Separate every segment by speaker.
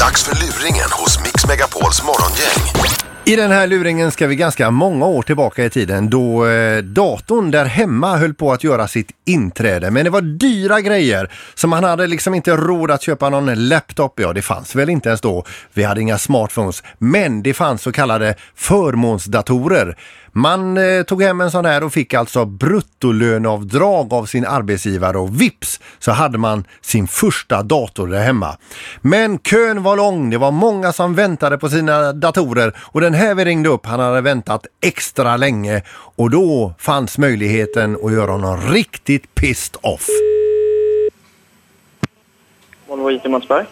Speaker 1: Dags för luringen hos Mix Megapols morgongäng.
Speaker 2: I den här luringen ska vi ganska många år tillbaka i tiden då eh, datorn där hemma höll på att göra sitt inträde. Men det var dyra grejer så man hade liksom inte råd att köpa någon laptop. Ja, det fanns väl inte ens då. Vi hade inga smartphones. Men det fanns så kallade förmånsdatorer. Man eh, tog hem en sån här och fick alltså bruttolöneavdrag av sin arbetsgivare och vips så hade man sin första dator där hemma. Men kön var lång, det var många som väntade på sina datorer och den här vi ringde upp han hade väntat extra länge och då fanns möjligheten att göra honom riktigt pissed off.
Speaker 3: Volvo IT Månsberg.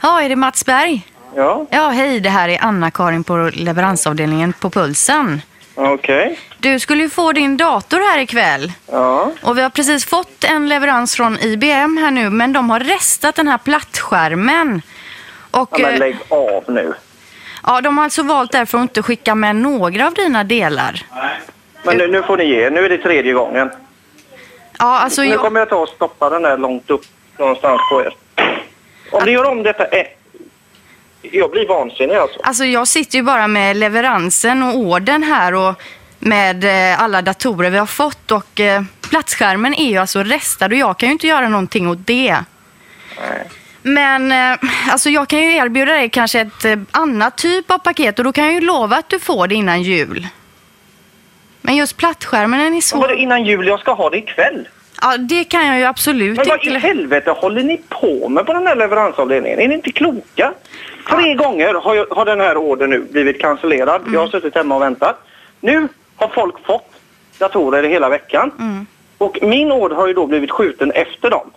Speaker 4: Ja, är det Mats Berg?
Speaker 3: Ja,
Speaker 4: Ja, hej, det här är Anna-Karin på leveransavdelningen på Pulsen.
Speaker 3: okej.
Speaker 4: Du skulle ju få din dator här ikväll.
Speaker 3: Ja,
Speaker 4: Och vi har precis fått en leverans från IBM här nu, men de har restat den här plattskärmen. Och,
Speaker 3: ja men
Speaker 4: eh,
Speaker 3: lägg av nu.
Speaker 4: ja, de har alltså valt därför att inte skicka med några av dina delar.
Speaker 3: Men nu, nu får ni ge er. Nu är det tredje gången.
Speaker 4: Ja, alltså
Speaker 3: Nu
Speaker 4: jag,
Speaker 3: kommer jag ta och stoppa den där långt upp någonstans på er. Om ni gör om detta... eh, Jag blir vansinnig alltså.
Speaker 4: alltså jag sitter ju bara med leveransen och orden här och med eh, alla datorer vi har fått och eh, plattskärmen är ju alltså restad och jag kan ju inte göra någonting åt det. Men eh, alltså jag kan ju erbjuda dig kanske ett eh, annat typ av paket och då kan jag ju lova att du får det innan jul. Men just plattskärmen den är
Speaker 3: Vadå
Speaker 4: svår.
Speaker 3: innan jul? Jag ska ha det ikväll.
Speaker 4: Ja, det kan jag ju absolut
Speaker 3: Men vad i
Speaker 4: inte.
Speaker 3: helvete håller ni på med på den här leveransavdelningen? Är ni inte kloka? Tre gånger har, jag, har den här ordern nu blivit cancellerad. Jag
Speaker 4: Mm.
Speaker 3: har suttit hemma och väntat. Nu har folk fått datorer i hela veckan.
Speaker 4: Mm.
Speaker 3: Och min order har ju då blivit skjuten efter dem.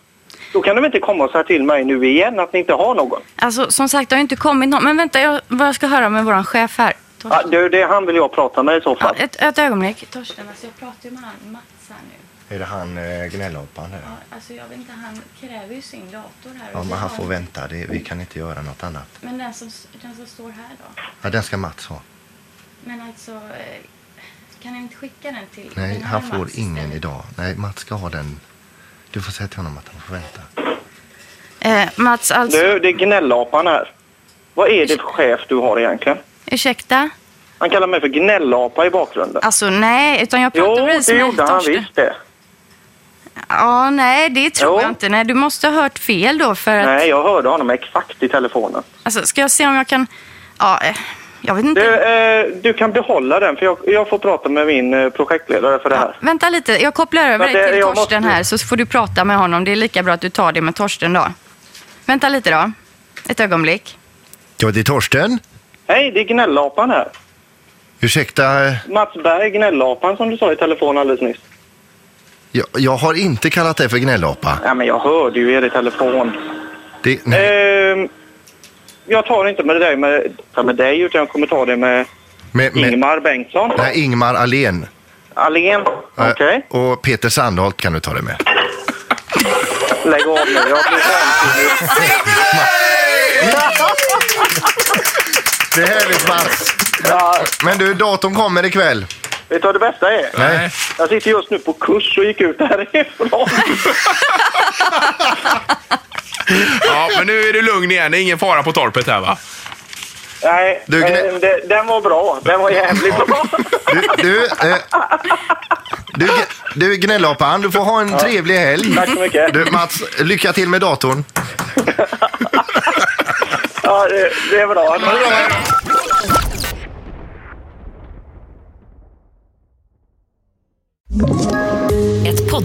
Speaker 3: Då kan de inte komma och säga till mig nu igen att ni inte har någon.
Speaker 4: Alltså som sagt, det har ju inte kommit någon. Men vänta, jag, vad jag ska höra med våran chef här. Torsten.
Speaker 3: Ja, det, det han vill jag prata med i så
Speaker 4: Ja,
Speaker 3: fall.
Speaker 4: ett, ett ögonblick. Torsten, alltså jag pratar ju med han Mats här nu.
Speaker 5: Är det han eh, gnällhopparen där?
Speaker 4: Ja, alltså jag vet inte, han kräver ju sin dator här.
Speaker 5: Ja, men han får vänta. Det, vi kan inte göra något annat.
Speaker 4: Men den som, den som står här då?
Speaker 5: Ja, den ska Mats ha.
Speaker 4: Men alltså, eh, kan jag inte skicka den till
Speaker 5: Nej,
Speaker 4: den här
Speaker 5: han får
Speaker 4: Mats?
Speaker 5: ingen idag. Nej, Mats ska ha den. Du får säga till honom att han får vänta.
Speaker 4: Eh, Mats, alltså,
Speaker 3: Du, det är gnällapan här. Vad är det för chef du har egentligen?
Speaker 4: ursäkta?
Speaker 3: Han kallar mig för gnällapa i bakgrunden.
Speaker 4: Alltså nej, utan jag pratar
Speaker 3: Jo,
Speaker 4: precis
Speaker 3: det
Speaker 4: med
Speaker 3: gjorde han
Speaker 4: Torsten.
Speaker 3: visst det.
Speaker 4: Ja, nej, det tror
Speaker 3: Jo.
Speaker 4: jag inte. Nej, du måste ha hört fel då för att...
Speaker 3: Nej, jag hörde honom exakt i telefonen.
Speaker 4: Alltså, ska jag se om jag kan... Ja, eh, jag vet inte.
Speaker 3: Du, eh, du kan behålla den, för jag, jag får prata med min eh, projektledare för det
Speaker 4: Ja,
Speaker 3: här.
Speaker 4: vänta lite, jag kopplar över
Speaker 3: Ja,
Speaker 4: dig
Speaker 3: det-
Speaker 4: till
Speaker 3: jag
Speaker 4: Torsten
Speaker 3: måste-
Speaker 4: här så får du prata med honom. Det är lika bra att du tar det med Torsten då. Vänta lite då. Ett ögonblick.
Speaker 5: Ja, det är Torsten.
Speaker 3: Hej, det är gnällapan här.
Speaker 5: Ursäkta, eh,
Speaker 3: Mats Berg, gnällapan, som du sa i telefon alldeles nyss.
Speaker 5: jag, jag har inte kallat dig för gnällhoppa.
Speaker 3: Ja, men jag hörde ju er i telefon.
Speaker 5: Det, nej.
Speaker 3: Ehm, jag tar inte med dig, med, ta med dig utan jag kommer ta det med
Speaker 5: Men, men,
Speaker 3: Ingmar Bengtsson.
Speaker 5: nej, Ingmar Ahlén.
Speaker 3: Alén. Okej,
Speaker 5: Eh, Och Peter Sandholt kan du ta det med.
Speaker 3: lägg av nu. Jag blir vansinnig.
Speaker 5: Det är härligt Mats.
Speaker 3: ja,
Speaker 5: Men du, datorn kommer ikväll.
Speaker 3: Vet du vad det bästa är?
Speaker 5: Nej.
Speaker 3: Jag sitter just nu på kurs och gick ut härifrån.
Speaker 6: Ja, men nu är du lugn igen. Det är ingen fara på torpet här va?
Speaker 3: Nej,
Speaker 5: Du, gnä-
Speaker 3: eh, de- den var bra. Den var jävligt bra.
Speaker 5: Du, du, eh, du, du gnällhoppan, du får ha en trevlig helg.
Speaker 3: Tack så mycket.
Speaker 5: Du, Mats, lycka till med datorn.
Speaker 3: Ja, det, det är bra.
Speaker 7: Ett